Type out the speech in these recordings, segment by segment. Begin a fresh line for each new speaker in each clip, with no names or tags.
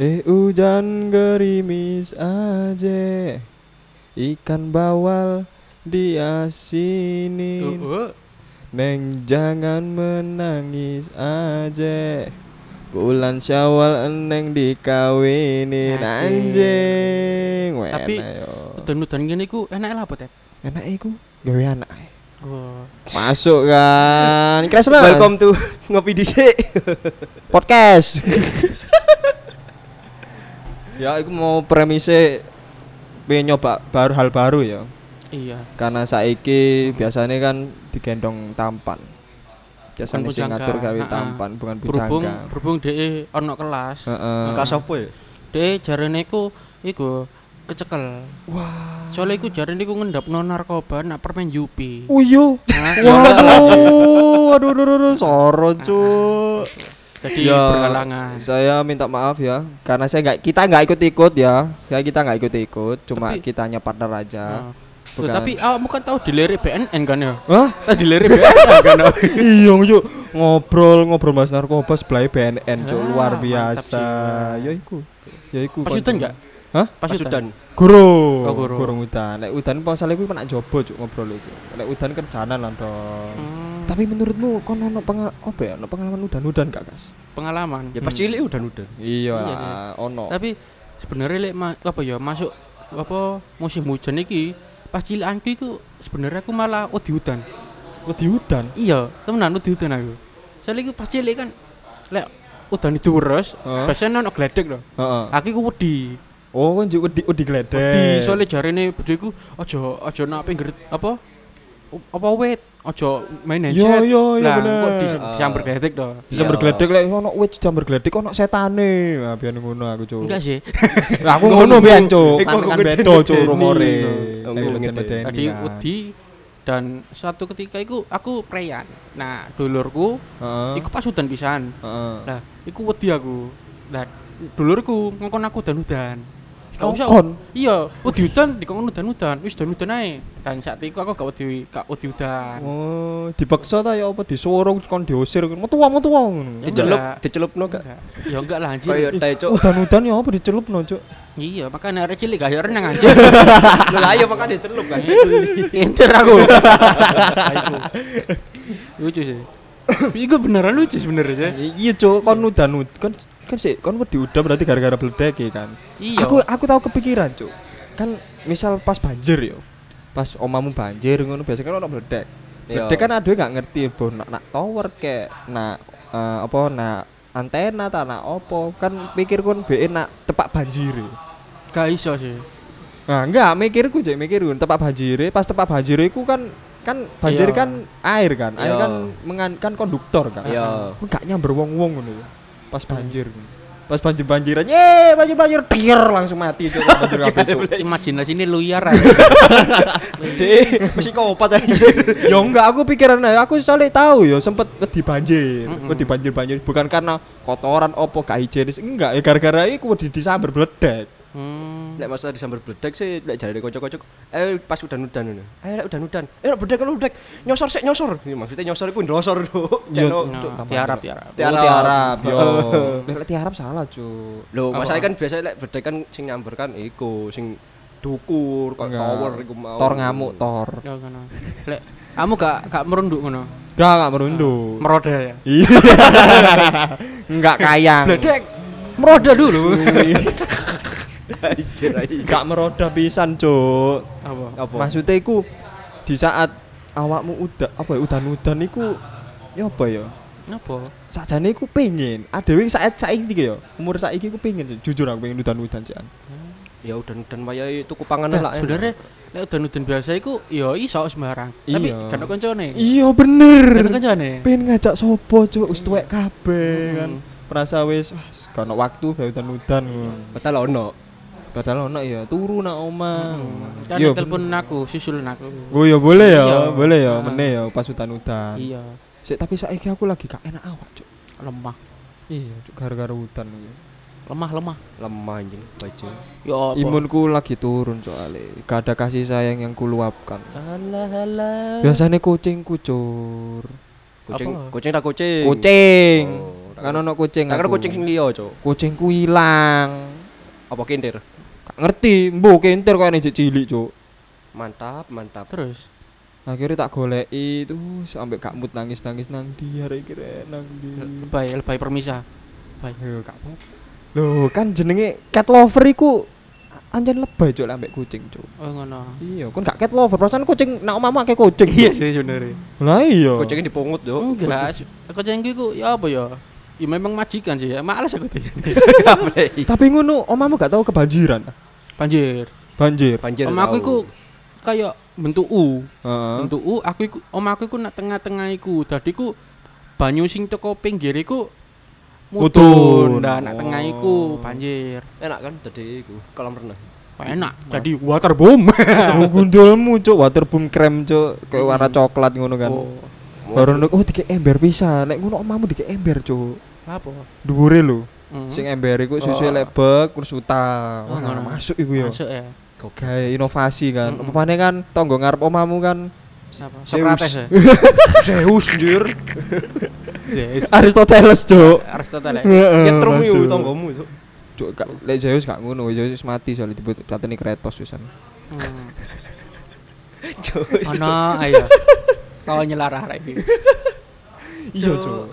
Eh hujan gerimis aja Ikan bawal diasinin
Uh, uh.
Neng jangan menangis aja Bulan syawal eneng dikawinin
Asik.
Anjing Wena
Tapi,
yo.
Udan-udan gini ku enak lah apa tep?
Enak iku gawe anak e.
Wah.
Masuk kan Kresna
Welcome to ngopi dhisik.
podcast Ya aku mau premise pengen nyoba baru hal baru ya
Iya.
karena saiki biasanya kan digendong tampan biasanya sing
Bukan bujangga,
ngatur gawe
Kan ha-ha.
tampan bukan
Berhubung
bujangga
berhubung DE ono kelas.
Heeh.
Kelas apa ya?
DE jarene ku iku kecekel.
wah
Soalnya iku jarene ku ngendapno narkoba nak permen Yupi.
uyo
Nah,
waduh aduh aduh aduh
Ah.
soro cuk Ya,
Jadi berhalangan.
saya minta maaf ya karena saya nggak kita nggak ikut ikut ya saya kita nggak ikut ikut cuma
Tapi-
kitanya partner aja
Nah. Tuh,
bukan-
tapi awakmu kan tahu dilirik BNN kan ya?
Hah?
Tahu dilirik BNN kan? ya?
iya yuk ngobrol ngobrol bahas narkoba sebelah BNN cuk
Ah,
luar
mantap
biasa
sih.
ya iku ya iku
Pas
kan,
udan
Cuk.
enggak?
Hah?
Pas udan.
Guru.
Oh, guru.
Guru udan. Nek udan pasalnya kuwi penak jaba cuk ngobrol iki. Nek udan kedanan lah dong.
Hmm,
Tapi menurutmu kon ono pengal apa ya? Ono pengalaman udan-udan gak, Kas?
pengalaman.
Ya pas cilik udan-udan.
Iya
Iya,
lah, ono.
Tapi sebenarnya lek ma- apa ya masuk apa musim hujan iki pas cilikanku iku sebenarnya aku malah wedi udan.
Wedi udan.
Iya, temenan wedi udan aku. Soalnya iku pas cilik kan lek udan diurus,
Heeh.
biasanya ono gledek lho.
Heeh.
Aku iku wedi.
Oh, kon juk wedi Ah. wedi
Wedi
gledek.
soalnya jarene bedhe iku aja aja nak pinggir apa u- apa wet, aja main
Yo,
handset.
yo, yo,
Lah,
bener.
kok di
Ah.
sambar gledek to.
Jamber
Iya.
gledek lek ono wit jamber gledek ono setane. Nah, biyen ngono aku cuk.
Enggak sih.
Lah aku ngono biyen cuk.
Iku
Kan
aku
kan
ngedeni.
beda cuk rumore.
Aku
Nek
ngedeni.
ngedeni
Tadi
kan.
wedi dan suatu ketika iku aku preyan. Nah, dulurku
Heeh.
iku pas udan pisan.
Heeh.
Lah, iku wedi aku. Lah, dulurku ngongkon aku udan-udan. Kau usah-
Ngongkon?
Iya, wedi udan dikongkon udan-udan. Wis udan-udan ae. Dan saat iku aku gak wedi gak wedi udan.
Oh, dipaksa ta ya apa disuruh kon diusir metu wae metu wae ngono.
Ya,
Dicelup,
enggak.
dicelupno gak?
Enggak. Ya enggak lah anjir.
Kayak tae cuk.
Udan-udan ya apa dicelupno, Cuk?
Iya, makanya arek cilik gak ayo renang anjir.
Ah, Lah ayo makan dicelup kan.
Enter aku. Aku. lucu sih. Iku beneran lucu sebenarnya.
Iya, Cuk, kon udan kan kan sih kon wedi udan berarti gara-gara bledek ya kan.
Iya.
Aku aku tahu kepikiran, Cuk. Kan misal pas banjir yo. Pas omamu banjir ngono biasanya kan ono bledek.
Iya.
Bledek kan aduh gak ngerti bo nak, nak tower kek, nak eh, apa nak antena ta nak opo. Kan pikir kon be nak tepak banjir. yo.
Gak iso sih.
Nah, enggak, mikirku jek mikirku tepak banjire, pas tepak banjire iku kan kan banjir
Iya.
kan air kan, air
Iya.
kan mengan kan konduktor kan.
Iya.
Kok enggak nyamber wong-wong ngono ya. Pas banjir. Pas banjir banjiran, ye banjir banjir, tir langsung mati itu banjir kabeh cuk.
Imajinasi ini ya, liar
Dek, mesti kau opat aja.
Ya enggak, aku pikiran aja, aku soalnya tahu ya sempet wedi banjir,
Mm-mm.
wedi banjir banjir bukan karena kotoran opo gak higienis, enggak ya gara-gara iku wedi disamber bledek.
Hmm.
Lek masa disambar bledek sih lek jarene kanca-kanca eh pas udan-udan ngono. Ayo lek udan-udan. Eh lek bledek lek bledek. Nyosor sik nyosor. Ya, maksudnya nyosor iku ndosor lho.
Ya,
Jano.
Nah, tiarap tiarap.
Tiarap,
Tiarap.
tiarap yo. Lek tiarap salah, Cuk.
Lho,
Apa?
masalahnya kan biasanya lek bledek kan sing nyamber kan iku sing dukur kok
Enggak.
tower iku mau.
Tor ngamuk, tor.
Ya ngono. Lek kamu gak gak merunduk ngono.
Enggak, enggak merunduk.
Meroda ya.
Iya. Enggak kayang.
Bledek. Meroda dulu.
Anjir, anjir.
Enggak meroda pisan, Cuk.
Apa?
Apa?
Maksudnya iku di saat awakmu udah apa ya udan-udan iku ya apa ya?
Apa?
Sakjane iku pengen. Adewe saat saiki iki ya. Umur saiki iku pengen jujur aku pengen udan-udan sih.
Ya udan-udan wayahe tuku panganan
Nah,
lah. eh.
sebenarnya lek udan-udan biasa iku ya iso sembarang. Tapi
Iya.
kan koncone.
Iya
Kan
bener.
koncone.
Pengen ngajak sopo, Cuk? Wis tuwek kabeh
Hmm.
kan. Merasa wis wah, gak ono waktu gawe udan-udan ngono.
Padahal ono.
Padahal ono ya turu nak omah.
Kan
Iya,
Hmm. telepon aku, susulin aku.
Oh ya boleh ya,
Iya.
boleh ya,
Ah.
meneh ya pas hutan-hutan.
Iya,
Sik, tapi saiki aku lagi gak enak awak, Cuk.
lemah.
Iya, Cuk, gara-gara hutan iki.
Lemah, lemah.
lemah anjing baju
Ya apa?
Imunku lagi turun soalnya Gak ada kasih sayang yang kuluapkan.
Alah, alah.
Biasanya kucingku, Cur.
kucing
Apa?
kucing tak kucing
Kucing.
oh, tak
kan ono kucing.
Nah, karo
aku.
kucing sing liya, Cuk.
Kucingku ilang.
Apa kintir?
Gak ngerti, mbuh kentir kaya nek cilik, Cuk.
Mantap, mantap.
Terus
Akhirnya tak goleki itu sampai gak mood nangis-nangis nang ndi arek iki rek, nang ndi.
lebay lebay permisa. Lebay.
Lho, gak apa. Lho, kan jenenge cat lover iku anjen lebay cuk ambek kucing, Cuk.
Oh ngono.
Iya, kon gak cat lover, perasaan kucing nak omahmu akeh kucing.
Iya
sih sebenarnya.
Lah iya.
Kucingnya Oh. dipungut, Cuk.
Enggak, su- kucing iku ya apa ya? Ya memang majikan sih ya. Males aku tuh.
Tapi ngono omahmu gak tahu kebanjiran.
Banjir.
Banjir.
Banjir.
Om aku
tau.
iku kayak bentuk U.
Heeh.
Bentuk U "Uh, aku iku om aku iku nak tengah-tengah iku. Dadi ku banyu sing teko pinggir iku
Mudhun.
mudun dan nak tengah iku
Oh.
banjir.
enak kan jadi iku kolam renang.
Wah, Enak. Jadi waterboom.
Oh, gundulmu cuk, waterboom krem cuk, kayak warna coklat ngono kan.
Hmm. Oh,
Baru nuk, oh dikek ember bisa. Nek ngono omahmu dikek ember cuk.
apa?
Dhuwure lho.
Hmm.
Sing ember iku susu
Oh.
lebek, terus utang. Wah,
Oh, ngono.
masuk iku ya.
Masuk ya.
Gawe inovasi kan.
Mm-mm.
Upamane kan tonggo ngarep omahmu kan
Siapa?
Zeus.
Socrates ya.
Zeus anjir.
Zeus.
Aristoteles cuk.
Aristoteles.
Nyetrum
Heeh,
yo
masuk.
tanggamu, Cuk.
Cuk, gak, lek Zeus gak ngono, Zeus mati soalnya dibuat katene kretos pisan.
Hmm.
Cuk.
Mm. Ono ayo. Kau nyelarah arek iki.
Iya,
Cuk.
Cuk.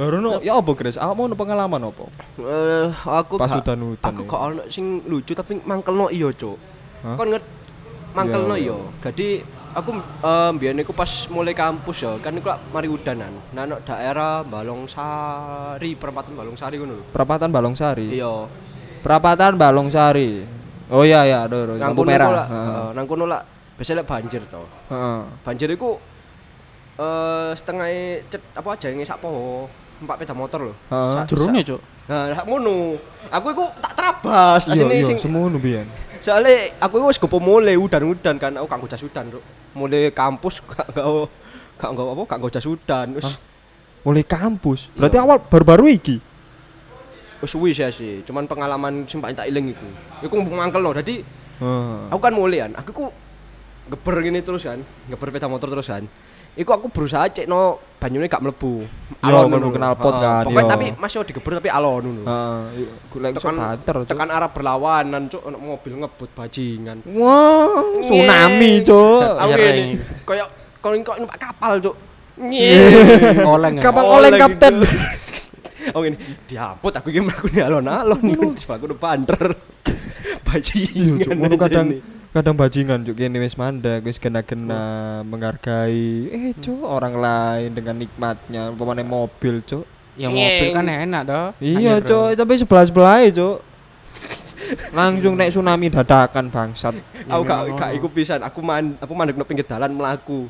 Baru nuk, ya apa Grace? Awakmu ono pengalaman apa?
Eh, aku
Pas
gak-
udan-udan
Aku
ya.
gak ono sing lucu tapi mangkelno iya, Cuk.
Hah?
Kon nget mangkelno
Iya.
iya. Jadi aku eh mbiyen iku pas mulai kampus ya, kan iku lak mari udanan. Nah, ono daerah Balungsari, perempatan Balungsari ngono lho.
Perapatan Balongsari.
Iya.
Perapatan Balongsari. Oh iya ya, aduh, aduh,
Nang
lampu
kono
merah.
iku lak-
Heeh.
eh, nang kono lak biasanya lak banjir to.
Heeh.
Banjir iku eh setengah cet apa aja yang sak poho, empat peda motor lho.
Heeh.
Sak-
Jerone, ya, Cuk.
Nah, sak ngono. Aku iku tak terabas
Iya, iya,
asline sing
semono biyen.
soalnya aku iku wis gopo mulai udan-udan kan aku kanggo jas udan, Ruk. Mulai kampus gak gak gak gak apa gak jas udan. Wis
Hah? Oleh kampus. Berarti awal baru-baru iki.
wis suwi sih sih. Cuman pengalaman sing paling tak eling iku. Iku mangkelno. Dadi
Heeh.
aku kan mulai kan. Aku iku geber gini terus kan. Geber peda motor terus kan. Iku aku berusaha cek no banyune gak
Yo,
mlebu. Alon
mlebu
ngono.
knalpot
Heeh,
kan,
Pokoknya
yo.
tapi masih digeber tapi alon ngono.
Heeh. iya, Gue lagi
Tekan,
banter. Cuk.
tekan arah berlawanan, cuk, ono mobil ngebut bajingan.
Wah, tsunami,
Nyeng.
Cuk.
Aku
Nyereng.
ini koyo koyo kok numpak kapal, Cuk.
Oleng. ya.
Kapal oleng
gitu.
kapten.
Oh ini diamput aku iki mlaku ning alon-alon ngono terus aku udah banter.
Iya, Cuk.
Bajingan.
Ngono
aja
kadang
ini.
kadang bajingan Cuk kene wis mandek, wis kena-kena menghargai eh Cuk orang lain dengan nikmatnya, umpamane mobil, Cuk.
Ya mobil kan enak toh.
Iya,
Anjir,
Cuk, tapi sebelah sebelahnya Cuk. Langsung naik tsunami dadakan bangsat.
aku gak
memang
gak
ono.
iku pisan, aku man aku mandek nang pinggir dalan mlaku.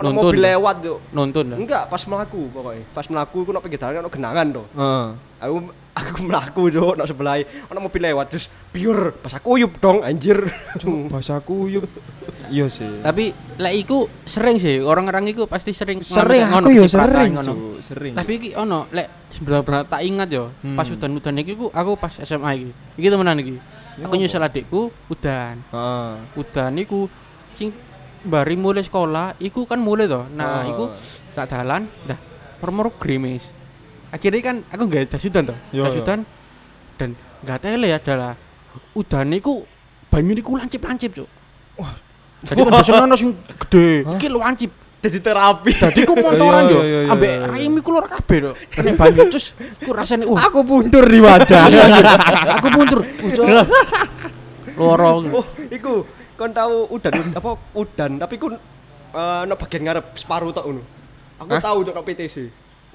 Ono
Nuntun.
mobil lewat, Cuk.
Nonton dah.
Enggak, pas mlaku pokoknya. Pas mlaku aku nang pinggir dalan kan ono genangan to.
Heeh.
Aku aku mlaku, Cuk, nang sebelah ono mobil lewat terus biur pas aku uyup dong anjir.
Bahasa kuyup. Iya sih.
Tapi lek iku sering sih orang-orang iku pasti sering
Sering
ngomong
aku
ngono,
yo
di perantauan
sering,
ngono.
Cuk, sering.
Tapi iki ono lek sebenarnya tak ingat yo. Pas
Hmm.
udan-udan iki ku aku pas SMA iki. Iki temenan iki. Aku nyusul adikku udan.
Heeh.
Udan iku sing bari mulai sekolah iku kan mulai toh. Nah,
Oh.
iku tak dalan, dah mermor gerimis. Akhirnya kan aku gak jas udan toh.
Yo,
Jas
yo.
udan dan gak tele ya, adalah udan iku banyu niku lancip-lancip, Cuk. Wah. Jadi kan biasanya ono sing gede, iki lu lancip.
Jadi terapi.
Jadi ku
Iya,
montoran yo,
iya, iya, iya,
ambek
iya.
aim iku lur kabeh toh. Nek banyu cus, ku rasane wah.
Aku mundur di wajah.
Iya, iya. Aku mundur. Uh, Cuk. Loro.
Oh, iku kon tahu udan apa udan tapi kun eh no bagian ngarep separuh tok ngono. Aku tahu cok no PTC.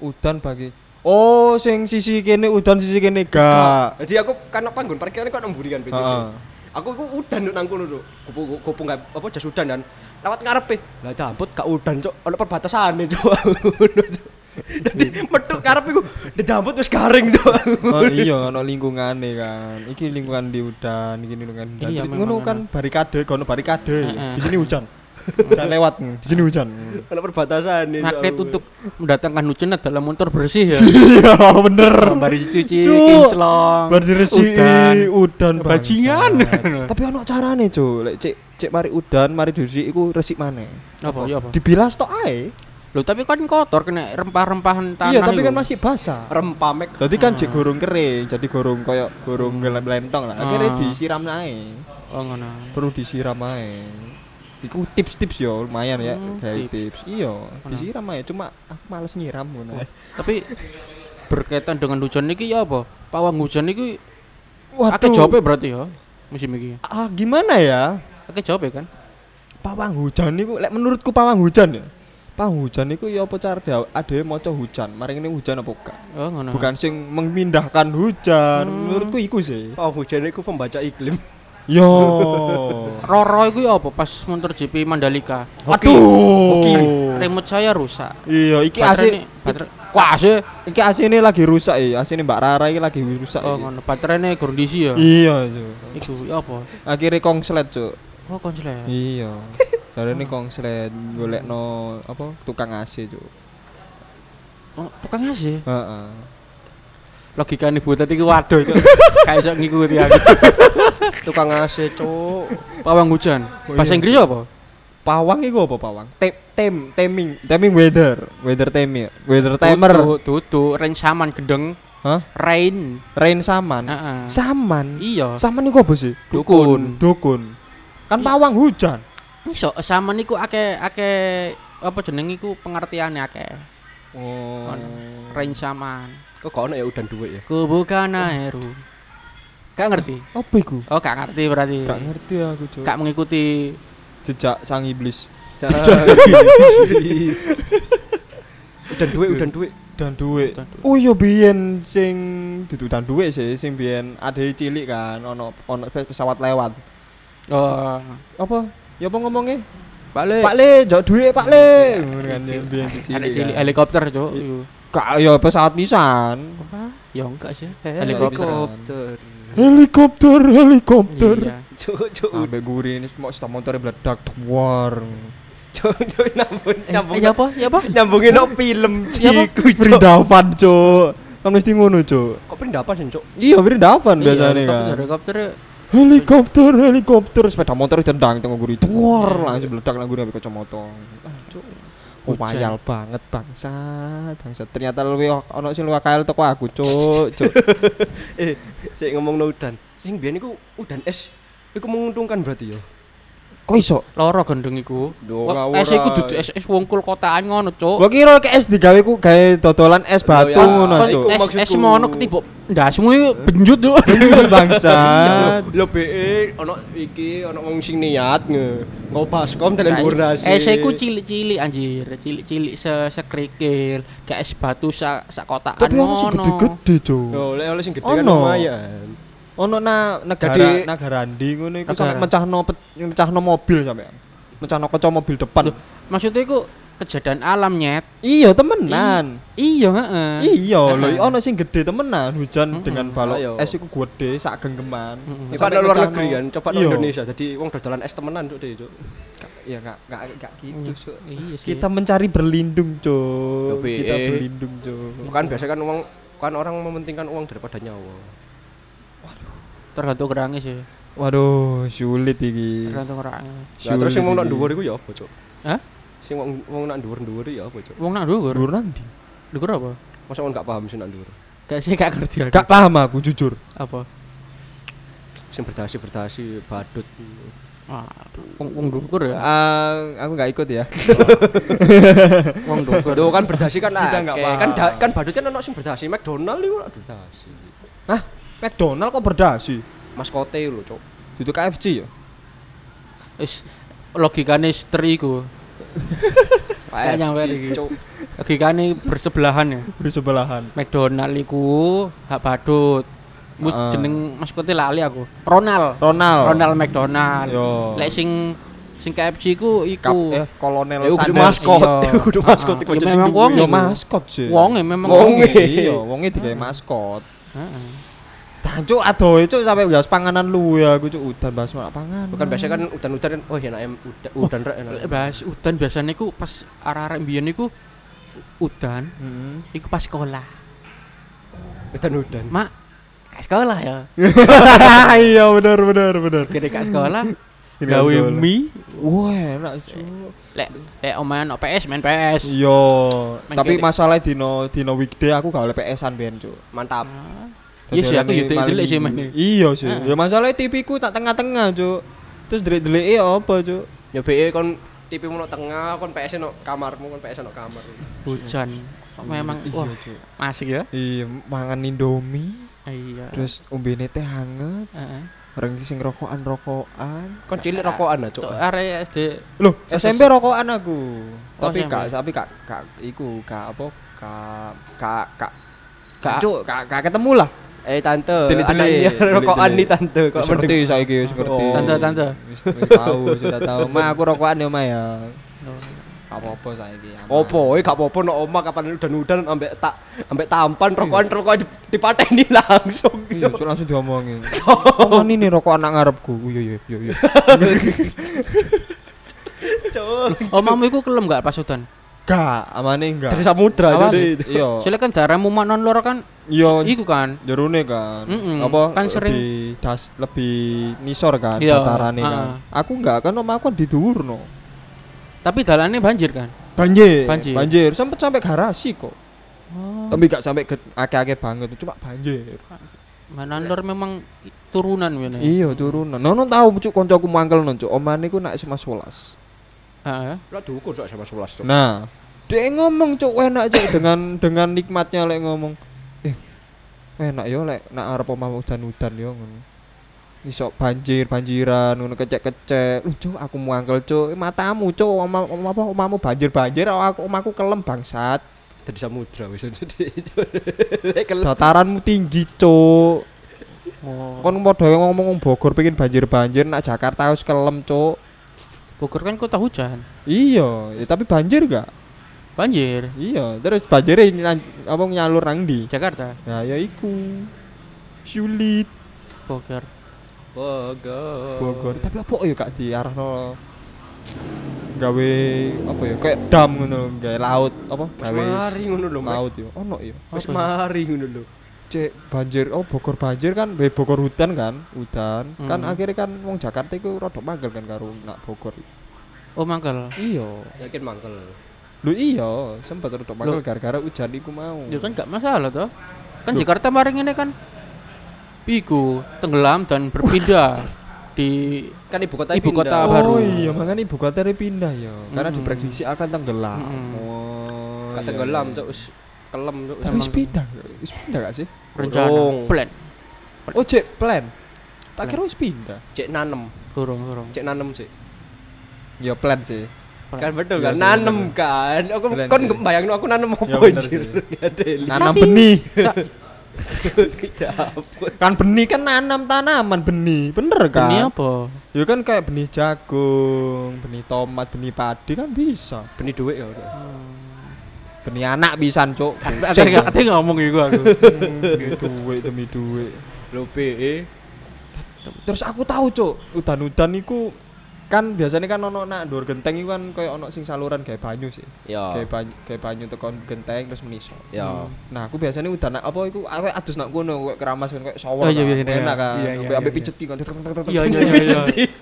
udan bagi Oh, sing sisi kene udan sisi kene gak.
Jadi aku kan no panggon parkiran kok nang mburi kan PTC.
Heeh.
Aku iku udan cok nang kono cok. Kupu kupu nggak apa jas udan kan. Lewat ngarepe. Lah jambut gak udan cok, ono perbatasane cok. Jadi metu ngarep iku "Ndak jambut wis garing cok.
Oh, iya ono lingkungane kan. Iki lingkungan di udan, iki lingkungan udan.
Iya,
Terus
memang
Ngono kan barikade, kono barikade.
Heeh.
Di sini hujan. Hujan lewat, di sini hujan.
Ono perbatasane. Cok.
Ya
magnet untuk mendatangkan hujan adalah motor bersih ya.
Iya, Oh, bener.
Bari dicuci,
Cuk.
kinclong,
Bar diresi
udan.
udan
Bajingan.
bangsat. Tapi ono carane, Cuk. Lek cek cek mari udan, mari diresi iku resik maneh.
Apa ya apa?
Dibilas tok ae.
Loh, tapi kan kotor kena rempah-rempahan tanah.
Iya, tapi kan
iku. Ah.
masih basah.
rempamek
Jadi kan jek gorong kering, jadi gorong koyo gorong gelem lentong lah. Akhirnya
Ah.
disiram naik,
Oh, ngono.
perlu disiram ae. Iku tips-tips yo lumayan ya,
Hmm,
kayak
tips.
tips. Iya, disiram ae, cuma aku males nyiram ngono.
Tapi berkaitan dengan hujan niki ya apa? Pawang hujan niki akeh
Waduh.
jope berarti ya musim iki.
Ah, gimana ya?
Akeh jope kan?
Pawang hujan niku lek menurutku pawang hujan ya. Pawang hujan niku ya apa cara dia ada maca hujan, mari ini hujan apa enggak?
Oh, ngono.
Bukan sing memindahkan hujan,
Hmm.
menurutku iku sih.
oh hujan itu pembaca iklim
Yo.
Roro iku ya apa pas muntur GP Mandalika.
Aduh.
Remote saya rusak.
Iya, iki
Baterai
asli.
ini, baterai. Wah, sih.
Iki asine lagi rusak ya, asine Mbak Rara iki lagi rusak.
Oh,
iki.
ngono. Baterainya kondisi ya.
Iya, Cuk.
Iku ya apa?
Akhire kongslet, Cuk.
Oh, konslet.
Iya. Darane kongslet golekno apa tukang AC, Cuk.
Oh, tukang AC.
Heeh.
Logikane butet iki waduh, Cuk. Kayak iso ngikuti aku.
tukang AC cuk
Pawang hujan.
Oh,
Bahasa
iya.
Inggris apa?
Pawang iku apa pawang?
tem tem teming
Timing weather, weather timer, weather timer.
Tutu, tutu, rain saman gendeng,
Hah?
rain.
Rain saman.
Heeh.
Saman.
Iya.
Saman iku apa sih?
Dukun. Iya.
Dukun. Kan pawang hujan.
Iso saman niku akeh akeh apa jeneng iku pengertiane akeh.
Oh.
Rain saman.
kok kau ya udan duit ya
Ku bukan aeru. Gak ngerti.
Apa iku?
Oh, gak ngerti berarti.
Gak ngerti aku, Cuk.
Gak mengikuti
Jejak sang iblis
udan duit udan duit
dan duit.
Dan duit.
Oh iya biyen sing dudu dan duit sih, sing biyen ade cilik kan ono ono pe- pesawat lewat.
oh
Apa? Ya apa ngomongnya?
balik.
Pak Le, njok duit Pak Le. Ngono kan yang biyen
Ada cilik
cilik. kan.
helikopter, Cuk.
I-
Iku.
Gak ya pesawat pisan.
Ya enggak sih. Helikopter.
helikopter
Helikopter, helikopter.
Iya.
cuk cuk
Ambe guri ini mau stop motor meledak duar.
cuk cuk nyambung nyambung
Eh, ya apa? Ya apa?
nyambungin no film
Iya,
Ya apa?
ciku cuk
Brindavan, Cuk. Kan mesti ngono, Cuk.
kok pendapat sih cuk
Iya, Brindavan biasanya
Iya,
kan.
Helikopter, helikopter.
Helikopter, helikopter, Iya. sepeda motor ditendang tengok guri. Duar, langsung meledak nang guri ambil kacamata. Ah, cuk. Kok
Hujan.
wayal banget bangsa, bangsa. Ternyata luwih ono sing luwih kael teko aku, cuk. Cuk.
eh saya ngomong no udan sing biar niku udan es Iku menguntungkan berarti ya.
Kok iso?
Loro gendeng iku.
Duh, Oh,
Wah,
ngawur,
Es iku
ay.
dudu es es wongkul kotaan ngono, Cuk.
Gua kira ke es digawe ku gawe dodolan es batu
ya,
ngono,
kan
cuk. Eh.
iku-
Es es
maksudku.
mono ketibuk ndasmu iku benjut, Cuk.
Bener, bangsa.
Iya, Ya, Lo be ono iki ono wong sing niat nge ngobas kom teleportasi.
Es Nah, iku cilik-cilik anjir, cilik-cilik se sekrikil, kayak es batu sak sak kotaan
Tapi ono sing
ngono.
gede-gede, cuk.
Kan Yo oleh oleh sing gede kan
Ono.
lumayan.
Ono na negara
Jadi-
nagarandi ngono iku
Negara.
sampe mecahno pe- mecahno mobil sampean. Mecahno kaca mobil depan.
Duh, Maksudnya iku kejadian alam nyet.
Iya, temenan.
Iya, heeh.
Iya, lho
Heeh.
ono sing gede temenan hujan
Mm-mm.
dengan balok
Ayo.
es iku gede sak genggeman.
Mm-mm.
Iku
Sampai
ada luar
pecah
negeri
no.
kan, coba no
Iya.
Indonesia. Jadi wong dodolan es temenan cuk deh cuk.
Iya, gak gak gak
Mm.
gitu, Cuk.
Iya sih.
Kita mencari berlindung, Cuk.
Tapi,
Kita
eh.
berlindung, Cuk.
Bukan biasa kan uang kan orang mementingkan uang daripada nyawa.
tergantung orangnya sih,
Waduh, sulit iki.
tergantung orangnya.
Nah, terus sing wong nak
iki.
dhuwur iku ya apa cuk?
Hah?
Sing wong wong nak dhuwur-dhuwur ya apa cuk?
Wong nak dhuwur.
Dhuwur nang ndi?
Dhuwur apa?
Masa wong gak paham sing nak dhuwur.
Gak sih gak ngerti aku.
Gak paham aku jujur.
apa?
Sing berdasi-berdasi badut.
Ah, wong wong dhuwur ya.
Ah, aku gak ikut ya.
Wong dhuwur.
Lho kan berdasi kan
Kita nggak
akeh.
paham.
Kan da- kan badut kan ono sing berdasi McDonald iku nak berdasi.
Hah? McDonald kok berdasi?
Maskote lho cuk.
Itu KFC ya?
Wis logikane istri iku. Kayak nyampe iki.
Cuk.
Logikane bersebelahan ya.
Beri sebelahan.
McDonald iku hak badut. Mu
Ah.
jeneng maskote lali aku. Ronald.
Ronald.
Ronald McDonald.
Yo.
Lek sing sing KFC ku
Kap,
iku.
eh, kolonel
Ya, kudu
Sanders.
maskot,
Iya.
kudu maskot
Ah,
iku
ah.
aja
Ya,
sing
memang
duwe.
wong
Yo
iku.
maskot sih.
Wonge memang
Wonge.
wonge. Ah.
Iya, wonge digawe maskot.
Heeh.
Tancuk adoh cuk sampe gas panganan lu ya aku cuk udan bahas malah panganan.
Bukan biasa kan udan-udan kan oh enak em udan udan rek enak.
Lek bahas udan biasanya iku pas arah-arah mbiyen iku udan
Heeh.
iku pas sekolah.
Udan-udan.
Mak, ke sekolah ya.
iya benar benar benar.
Gede ke sekolah, gawe
sekolah.
mie
Wah, enak cuk.
lek lek omahan no PS main PS
Iya,
Main
tapi
gelik.
masalah dino dino weekday aku gak oleh PS-an ben cuk.
Mantap.
Iya sih,
Jadi oleh
aku yo delik sih
malam
main.
minggu. Iya sih.
Heeh.
Ya masalahnya TV ku tak tengah-tengah cuk. Terus delik-delike ya apa cuk?
Ya BE kon TV mu no tengah, kon PS no kamarmu, kon PS no kamar.
Hujan. Kok memang wah
Cuk.
masih ya?
Iya, mangan Indomie,
Iya.
terus umbine teh hangat, orang sing rokokan rokokan.
Kon cilik rokokan lah, Cuk.
Cuk area SD
Loh,
Terus-
SMP Eh, rokokan aku.
Oh,
Tapi
SMP.
kak, tapi kak, kak, iku kak apa? Kak, kak, kak,
Kak.
Cuk, kak, kak ketemu lah.
Eh tante,
Delik-delik,
anaknya
delik-delik.
rokokan nih tante. Kok
Wis ngerti
mending-
saiki wis ngerti.
Oh.
Tante, tante.
Wis wis tahu, sudah tahu. Ma aku rokokan ya, Ma ya.
Oh.
Apa-apa saiki. aman.
Opo, eh gak apa-apa no oma kapan udan-udan ambek tak ambek tampan rokokan rokokan dipateni langsung.
Iya, cuk langsung diomongin. Oh, ini nih rokok anak ngarepku. Oh, Iya, iya, iya, iya.
Cuk.
Omamu iku kelem gak pas udan?
Enggak, amane enggak.
Dari samudra
Awas.
jadi.
Iya.
Soalnya kan darahmu mak non loro kan
Iya,
iku kan.
jerune kan.
Mm-mm,
Apa
kan sering-
lebih das lebih nisor kan
Iya,
datarane
ah.
kan. Aku enggak kan omah aku kan di dhuwurno.
Tapi dalannya banjir kan.
Banjir,
Banjir.
banjir. Sempet sampai garasi kok.
Oh,
Tapi enggak sampai ge- ake-ake banget, cuma banjir.
non lor memang i- turunan ngene.
Iya turunan. Nono tahu cuk koncoku mangkel non cuk. Omane ku nak SMA 11.
Heeh.
Lah diukur sok sama 11 Cuk.
Nah, dia ngomong cuk enak cuk dengan dengan nikmatnya lek ngomong. Eh, enak yo lek nak arep omah udan-udan yo ngono. Iso banjir, banjiran, ngono kecek-kecek. Lu cuk aku mangkel cuk. Eh, Matamu cuk omah omah apa omahmu banjir-banjir aku omahku kelem bangsat.
Dari samudra wis. Kel
Dataranmu tinggi cuk.
Oh.
Kon padha ngomong Bogor pengen banjir-banjir nak Jakarta harus kelem cuk.
Bogor kan kota hujan.
Iya, eh, tapi banjir gak?
Banjir.
Iya, terus banjirnya nyan- apa nyalur nang ndi?
Jakarta,
Nah, ya iku. Sulit
Bogor.
Bogor.
Bogor. Tapi apa ya Kak diarahno gawe apa ya kayak dam ngono lho, gawe laut apa
Wis
gawe
mari ngono lho, Mek.
laut yo. Ono yo.
Wis
Apa ya?
mari ngono lho.
Cek banjir, oh Bogor banjir kan, eh, Bogor hutan kan, hutan. Kan
Hmm.
akhirnya kan wong Jakarta iku rada mangkel kan karo nak Bogor.
Oh, mangkel.
Iya.
Yakin mangkel.
Lu iya, sempat rada mangkel
Loh.
gara-gara hujan iku mau.
Ya kan gak masalah toh. Kan Jakarta mari ngene kan. Iku tenggelam dan berpindah di
Kan ibu kota
Ibu kota
pindah.
baru.
Oh iya, makanya ibu kota pindah ya. Karena
Mm-mm.
diprediksi akan tenggelam.
Mm-mm.
Oh.
Kata
iya,
tenggelam
iya.
cuk wis kelem cuk.
Tapi wis
Emang-
pindah, wis pindah gak sih?
rencana
Urung.
plan
Oh, cek plan. Tak
Plan.
kira wis pindah.
Cek nanem,
burung burung
cek nanem sih.
Ya plan sih.
Kan betul
Iya
kan
sih,
nanem kan. Aku
Bener
kon
sih.
bayangno aku nanem
Iya,
opo
bener
anjir.
sih.
Gak ada elit.
Nanam
Sapi.
benih.
Sa-
Dapet.
Kan benih kan nanam tanaman benih, bener kan?
ini apa
Ya kan kayak benih jagung, benih tomat, benih padi kan bisa.
Benih duit ya.
Benih anak bisa, Cuk. kan.
saya nggak ngomong iku aku
Demi duit demi duit.
Lho PE
Terus aku tahu, Cuk, udan-udan iku kan biasanya kan ono nak ndur genteng iku kan kayak ono sing saluran kayak banyu sih.
ya.
Ah.
Kayak banyu, kayak banyu tekan genteng terus menisor.
Ya.
Nah, aku biasanya udah nak apa iku aku adus nak kono kowe keramas kono kowe shower.
Oh,
kan,
iya, iya, iya.
Enak kan.
Iya, iya,
Kowe ambek
iya.
pijeti kan.
iya iya iya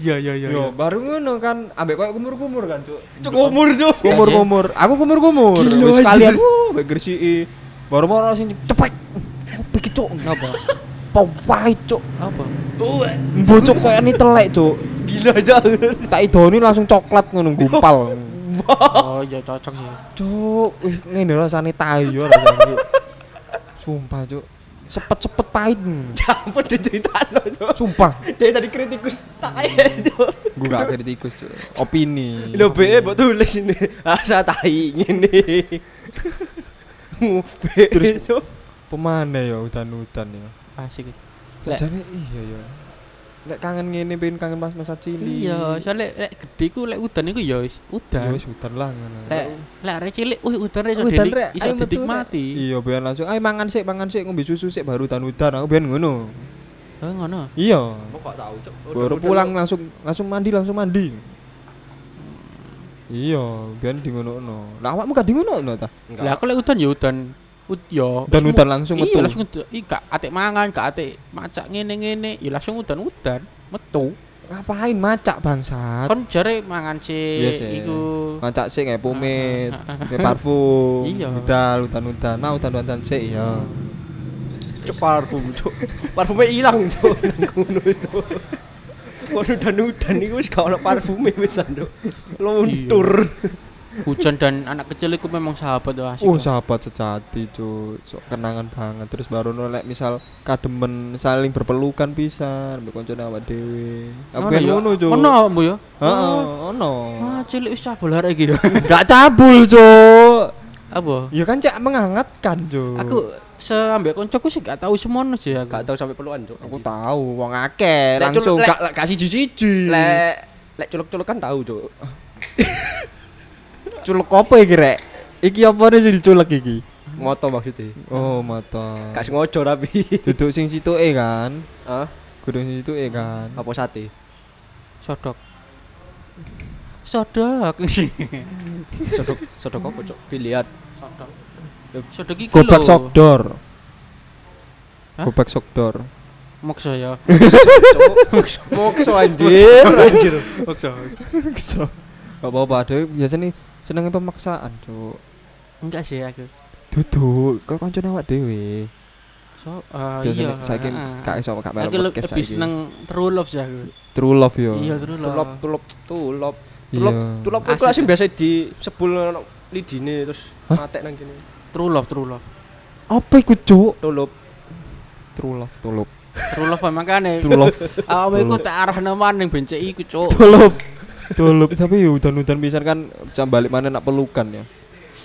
iya iya iya
Yo, baru ngono kan ambek koyo kumur-kumur kan, Cuk.
Cuk umur cuk.
Kumur-kumur.
Iya,
Aku kumur-kumur.
Gila,
Wis
anjir.
kalian uh ambek gresiki. Baru mau orang sing cepek. Apa iki, Cuk?
apa
Pawai, Cuk.
apa
Mbok Cuk koyo ni telek, Cuk.
Gila cuk.
Tak idoni langsung coklat ngono gumpal.
oh iya cocok sih
Cuk, wih ngene rasane tai yo rasane. Cuk. Sumpah, Cuk. Sepet-sepet pahit.
Campur diceritakno cuk.
Sumpah.
Dia tadi kritikus tak ae cuk.
gue gak kritikus cuy opini
Lho BE mbok tulis ini. Asa tai ngene. Ngopi.
Terus,
Terus
pemana ya udan-udan ya
asik Lek.
sejane iya ya lek kangen ngene pengen kangen pas masa cilik
iya soalnya lek gede ku lek udan iku ya wis
ya
udan
wis udan lah ngono
lek lek arek cilik wih udan iso
Udan
dinik-
rek,
iso
ayo metu rek.
dinikmati
iya biar langsung ayo mangan sik mangan sik ngombe susu sik baru udan-udan aku biar ngono
oh ngono
iya
Kok gak tahu cuk.
baru pulang langsung langsung mandi langsung mandi
Hmm.
iya biar di ngono no lah awakmu gak di ngono no ta
lah aku lek udan ya udan ya Ud, yo
udan udan langsung
iya
metu
langsung udan. Ih, gak atik mangan gak atik macak ngene ngene ya langsung udan udan metu
Ngapain macak bangsat?
Kon jare mangan
Iya
sih
sih.
iku.
Macak sih kayak pumit, kayak parfum,
Iya. Hmm,
udal, udan-udan, nah udan-udan sih ya.
Cuk parfum, cuk. Parfumnya hilang, cuk. Nang kono itu. Waduh dan udan iku wis gak ono parfume wis Cuk. Luntur.
Hujan dan anak kecil iku memang sahabat tuh asik.
Oh
tuh.
sahabat sejati cuy, Sok kenangan banget. Terus baru nolak misal kademen saling berpelukan bisa, ambil konco awak dewe. Aku yang
ya?
ngono cuy.
Ono mbu ya.
Heeh, ono.
Ah, cilik wis cabul arek iki ya.
Gak cabul cuy.
Apa?
Ya kan cak menghangatkan cuy.
Aku seambek koncoku sih gak tahu semono sih aku.
Gak tau sampai peluan, cuk.
aku tahu wong akeh
Lek
langsung
culuk- lek-
gak lek kasih siji-siji.
lek lek culuk-culuk kan tahu, cuk.
culek apa iki rek? Iki apa nih jadi culek iki?
Moto maksudnya.
Oh mata.
Gak sengojo tapi.
Duduk sing situke kan.
Hah?
Kudu sing situke kan.
Apa sate?
Sodok. Sodok.
Sodok sodok apa, cuk? Biliar.
Sodok. Sodok iki
Gobak
lho.
sokdor.
Hah?
Gobak sokdor.
Mokso ya.
Mokso anjir, anjir.
Mokso.
Gak apa-apa ada biasanya senengnya pemaksaan cuk.
Enggak sih aku.
Duduk, kok kancan awak dewe.
So, ah, iya.
Biasanya saiki
ah,
gak iso gak
Aku
bareng
le-
podcast
lebih
saiki.
seneng true love sih aku.
True love yo.
Iya true love.
Tulop tulop tulop.
Iya.
Tulop tulop iku
Asik.
asing biasa di sebul ono lidine terus matek nang kene.
True love, true love.
Apa iku cuk?
Tulop.
True love, tulop.
True love makane.
True love.
Awak iku tak arahno maning bencek iku, Cuk.
Tulup. Tulup tapi ya udan-udan pisan kan jam balik mana nak pelukan ya.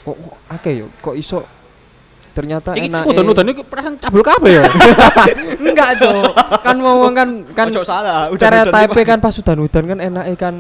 Kok kok akeh yo, kok iso ternyata
Iki
enak.
udan-udan iki perasaan cabul kabeh ya.
Enggak, Cuk. Kan wong kan kan
Kan Ojo salah.
stereotipe kan pas udan-udan kan enake kan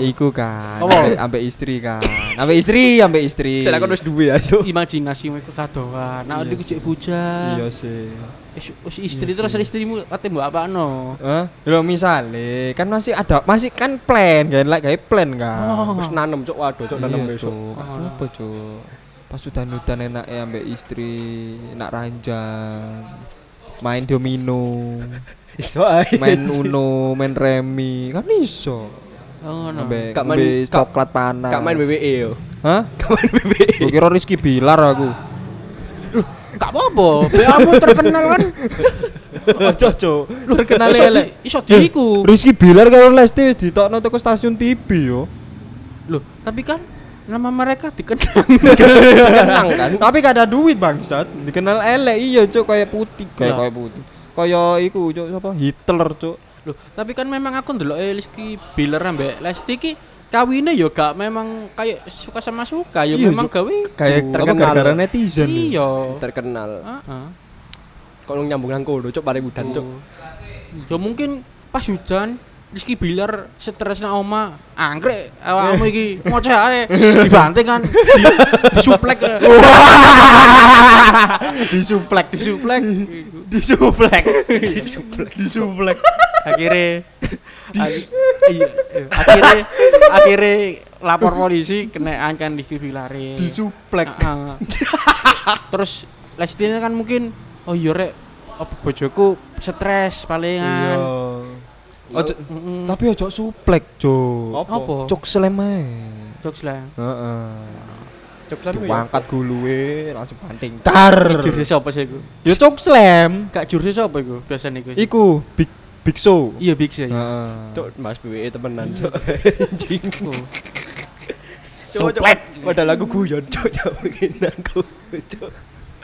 Nah, iku kan.
Apa?
Ambek ambek istri kan. Ambek istri, ambek istri.
Saya kan wis duwe ya, Cuk.
Imajinasi iku kadoan. Nah,
Iya
iki
sih.
cek bocah.
Iya sih.
Wis wis istri terus istrimu kate mbok apakno.
Hah? Lho misale kan masih ada masih kan plan, kan like gawe plan kan.
Oh.
Wis nanem, Cuk. Waduh, Cuk,
Iya,
nanem besok.
Cuk. Apa, Cuk? Pas udah nudan enak ya ambek istri, enak ranjang. Main domino,
Iso ae.
main uno, main remi, kan iso.
Oh, ngono.
Ambek
Gak main-
ambek
gak-
coklat panas.
Gak main WWE yo.
Hah?
Gak main E. WWE.
Gue kira Rizky Bilar aku.
Gak apa-apa. BA-mu terkenal kan.
Ojo, Cuk. Terkenal
Iso di-
elek.
iso diiku.
Rizky Bilar karo Lesti wis ditokno teko stasiun TV yo.
Loh, tapi kan nama mereka dikenang.
Dikenang kan. Tapi gak ada duit bangsat. Dikenal elek iya, Cuk, kayak putih, Nah. kayak
Lah.
kayak putih. Kayak iku, Cuk, sapa? Hitler, Cuk.
Loh, tapi kan memang aku ndelok Rizky Bilar ambek Lesti ki kawine yo gak memang kayak suka sama suka yo
Iya,
memang
Cuk.
gawe iku.
kayak
terkenal.
apa gara-gara netizen ya?
iya.
Terkenal.
Heeh.
Kok nyambung nang kono, Cuk, paling udan, Cuk.
Ya mungkin pas hujan Rizky Bilar stres nang oma anggrek
Iya.
awakmu iki ngoceh ae dibanting kan di- disuplek eh.
disuplek
disuplek
disuplek Iya. disuplek disuplek
akhirnya ak- iya iya. akhirnya akhirnya lapor polisi kena angkan Rizky Bilar e.
disuplek
Heeh. terus Lesti kan mungkin oh iya rek apa bojoku
iya
stres palingan
Ojo,
Mm-mm.
tapi ojo suplek cuk
Apa?
apa
cuk slem ae
jokes lah
heeh
Cuk, lan yo.
angkat guluwe langsung banting ya. tar
jurusnya siapa sih iku?
ya cuk slem
Kak jurusnya siapa iku biasanya iku?
iku Nah. big big show
Iya Big sih.
heeh
Cuk, Mas WWE temenan, Cuk.
Iku.
Soplet. Padahal aku guyon, Cuk. Ya mungkin aku, Cuk.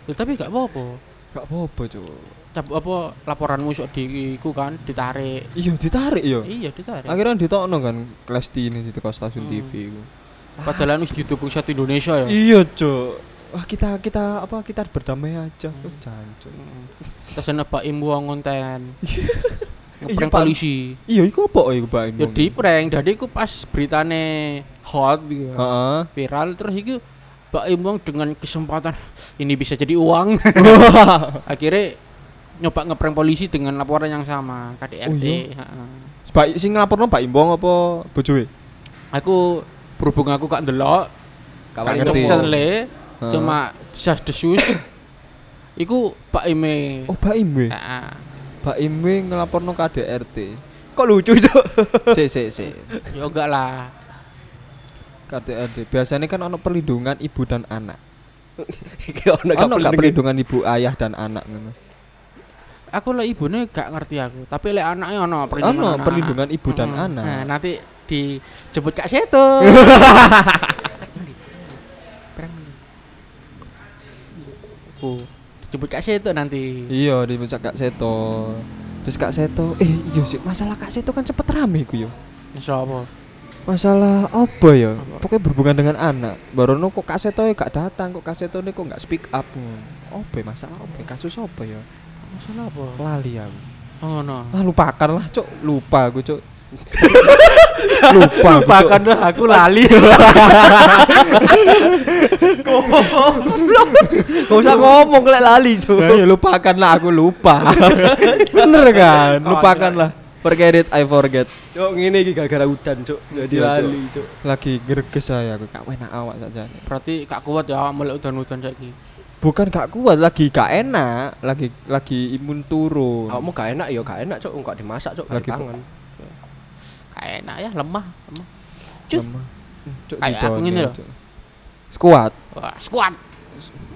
Ya, tapi gak apa-apa.
gak apa-apa cuk
Cap apa laporanmu sok di iku kan ditarik.
iya ditarik ya
Iya ditarik.
akhirnya ditokno kan Lesti ini di teko stasiun
Hmm.
TV iku
Padahal anu wis didukung satu Indonesia ya.
Iya, Cuk. Wah, kita kita apa kita berdamai aja. Hmm. Jancuk.
Terus nebak imbu konten.
Iya,
Ngeprank
Pak.
polisi.
Iya, iku apa iku Pak Imam?
Ya di prank. Jadi iku pas beritane hot gitu.
Heeh.
Viral terus iku Pak Imong dengan kesempatan ini bisa jadi uang. Akhirnya nyoba ngeprank polisi dengan laporan yang sama KDRT.
Oh, iya?
heeh.
Pak sing ngelaporno Pak Imbong apa bojoe?
aku berhubung aku gak ndelok
Gak
Kawan
ngerti.
Cuk.
channel
Heeh.
cuma jas desus iku Pak Ah, Ime Hmm.
Oh, Pak Imwe.
Heeh.
Pak Imwe ngelaporno KDRT.
Kok lucu, Cuk?
Sik sik sik.
Ya enggak lah.
KDRD. Biasanya kan ono perlindungan ibu dan anak.
Iki ono
Ono gak
gak pelindung.
perlindungan ibu ayah dan anak ngono.
Aku lek ibune gak ngerti aku, tapi lek anaknya ono perlindungan.
Ono
anak-anak.
perlindungan ibu dan
Mm-mm. Nah,
anak.
nanti dijemput Kak Seto. Perang. Aku dijemput Kak Seto nanti.
Iya, di puncak Kak Seto. Terus Kak Seto, eh iya sih, masalah Kak Seto kan cepet rame ku yo.
Insyaallah.
Masalah apa ya?
Apa?
Pokoknya berhubungan dengan anak. Barono kok Kak Seto gak datang, kok Kak Seto ini kok gak speak up. Apa ya, masalah apa? ya? Kasus apa ya?
Masalah apa? Oh,
Lali aku.
Ngono.
Ah lupakan lah, Cuk. Lupa aku, Cuk. lupa, aku, Cuk.
Lupakanlah aku lali.
Gak usah ngomong lek lali, Cuk.
Nah, ya lupakanlah aku lupa. Bener kan?
Konyol.
Lupakanlah. Forget it, I forget.
Cuk, ngene iki gara-gara udan, Cuk. Jadi
Iya, Cuk.
lali, Cuk.
Lagi greges saya aku, gak enak awak saja.
Berarti gak kuat ya awak melek udan-udan saiki.
Bukan gak kuat, lagi gak enak, lagi lagi imun turun.
Awakmu gak enak ya gak enak, Cuk. Enggak dimasak, Cuk.
Lagi
Lagi pangan.
Gak enak ya, lemah. lemah. Cuk.
Lemah. Cuk,
Kayak aku
didongeng,
ngene lho.
Cuk. Kuat,
Wah, squat.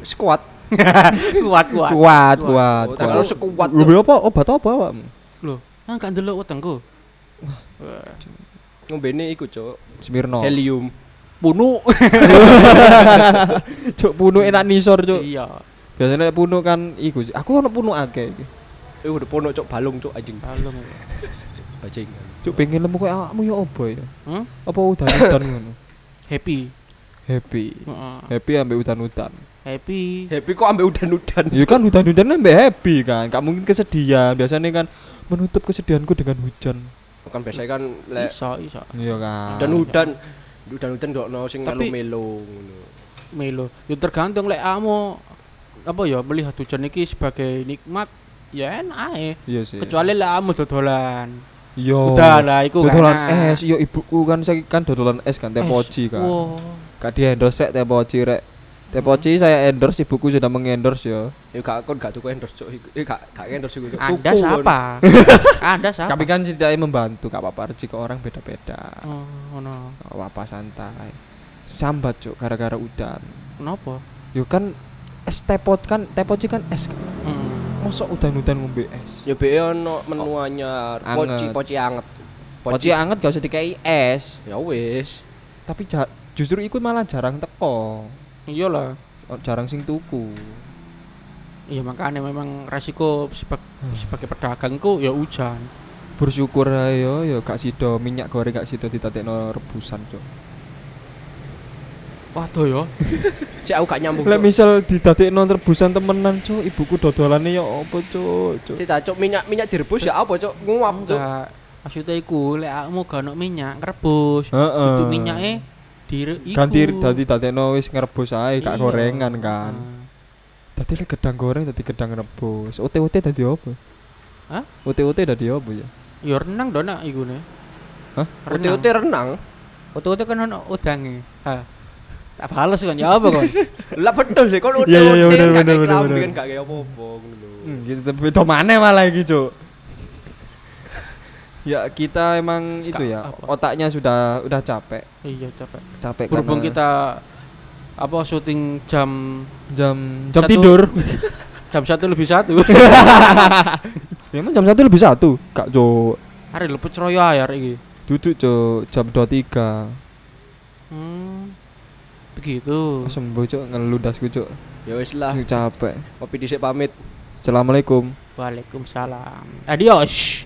Squat.
kuat,
kuat,
kuat.
kuat,
Oh,
kuat.
Aku sekuat.
Lu beli apa? Obat apa awakmu?
Loh, kan gak ndelok wetengku. Wah.
Ngombene iku, Cuk.
Smirno.
Helium.
Bunuh.
Cuk, puno enak nisor, Cuk.
Iya.
Biasanya puno kan iku. Cuk. Aku ono puno akeh iki.
Eh udah pono, Cuk. Balung, Cuk. Anjing.
Balung.
Bajing.
Cuk pengen lemu koyo awakmu ya apa ya?
Hmm?
Apa udan-udan ngono?
Happy.
Happy.
Heeh.
Happy ambek udan-udan.
Happy.
Happy kok ambek udan-udan.
Ya kan udan-udan ambek happy kan. Gak mungkin kesedihan. Biasanya kan menutup kesedihanku dengan hujan.
Kan biasanya kan lek
Iso, iso.
Iya kan.
dan udan udan udan gak ono sing
Tapi-
melu-melu ngono.
Melo. Ya tergantung lek kamu apa ya melihat hujan iki sebagai nikmat ya enak ae.
Iya sih.
Kecuali lek kamu dodolan.
Yo.
Udah lah, iku kan. Eh, gak
dodolan
enak.
es. Yo ibuku kan saya kan dodolan es kan tepoci kan.
Wah.
Gak di endorse sek tepoci rek. Tepoci saya endorse ibuku sudah mengendorse ya.
Ya gak kon gak tuku endorse cuk. iku. Eh gak gak endorse iku cuk.
Anda
Tuku,
siapa? Anda siapa?
Tapi kan setidaknya membantu. Gak apa-apa rezeki orang beda-beda.
Oh, ngono.
Gak apa-apa santai. Sambat cuk gara-gara udan.
Kenapa?
Yo kan es tepot kan tepoci kan es kan.
Hmm.
Mosok udan-udan ngombe es.
Ya be ono menu anyar,
Anget.
poci poci anget.
Poci anget gak usah dikai es,
Ya wis.
tapi ja- justru ikut malah jarang teko.
Iyalah.
Oh, Jarang sing tuku.
Iya makanya memang resiko sebag-
Hmm.
sebagai pedagangku ya hujan.
Bersyukur ayo ya gak sido minyak goreng gak sido ditatekno rebusan, Cuk.
Waduh ya.
Cek aku gak nyambung.
Lah
Cuk.
misal ditatekno rebusan temenan, Cuk, ibuku dodolane ya apa, Cuk? Cuk.
Cita cuk minyak minyak direbus ya apa cuk? Nguap cuk.
Enggak. Maksudnya iku lek kamu gak ono minyak rebus.
Heeh.
Itu minyaknya dire iku.
Eh. ganti dadi tatekno wis ngerebus ae gak
Iya.
gorengan kan.
Nah.
Dadi lek gedang goreng dadi gedang rebus. Ote-ote dadi apa?
Hah?
Ote-ote dadi apa ya?
Ya renang dong nak iku nih.
Hah?
Renang.
Uti-uti renang.
Uti-uti kan ono udange. Ha. Tak bales kan ya apa kon?
Lah betul sih kon uti-uti.
Iya, iya, iya,
gak
bener,
kayak
bener, bener,
kelambi
bener.
kan gak kayak apa-apa ngono.
Hmm, gitu tapi itu mana malah iki, Cuk. ya kita emang
Ska-
itu ya,
apa?
otaknya sudah udah capek.
iya capek.
Capek
Berhubung
karena
kita apa syuting jam
jam jam
Satu.
tidur.
jam satu lebih satu
Ya, emang jam satu lebih satu, Kak Cuk.
hari lepet royo ayar iki
Duduk Cuk, jam 23.
hmm begitu
Sembuh Cuk, ngeludas ku Cuk.
Ya wis lah.
Ini capek.
Kopi dhisik pamit.
Assalamualaikum.
Waalaikumsalam adios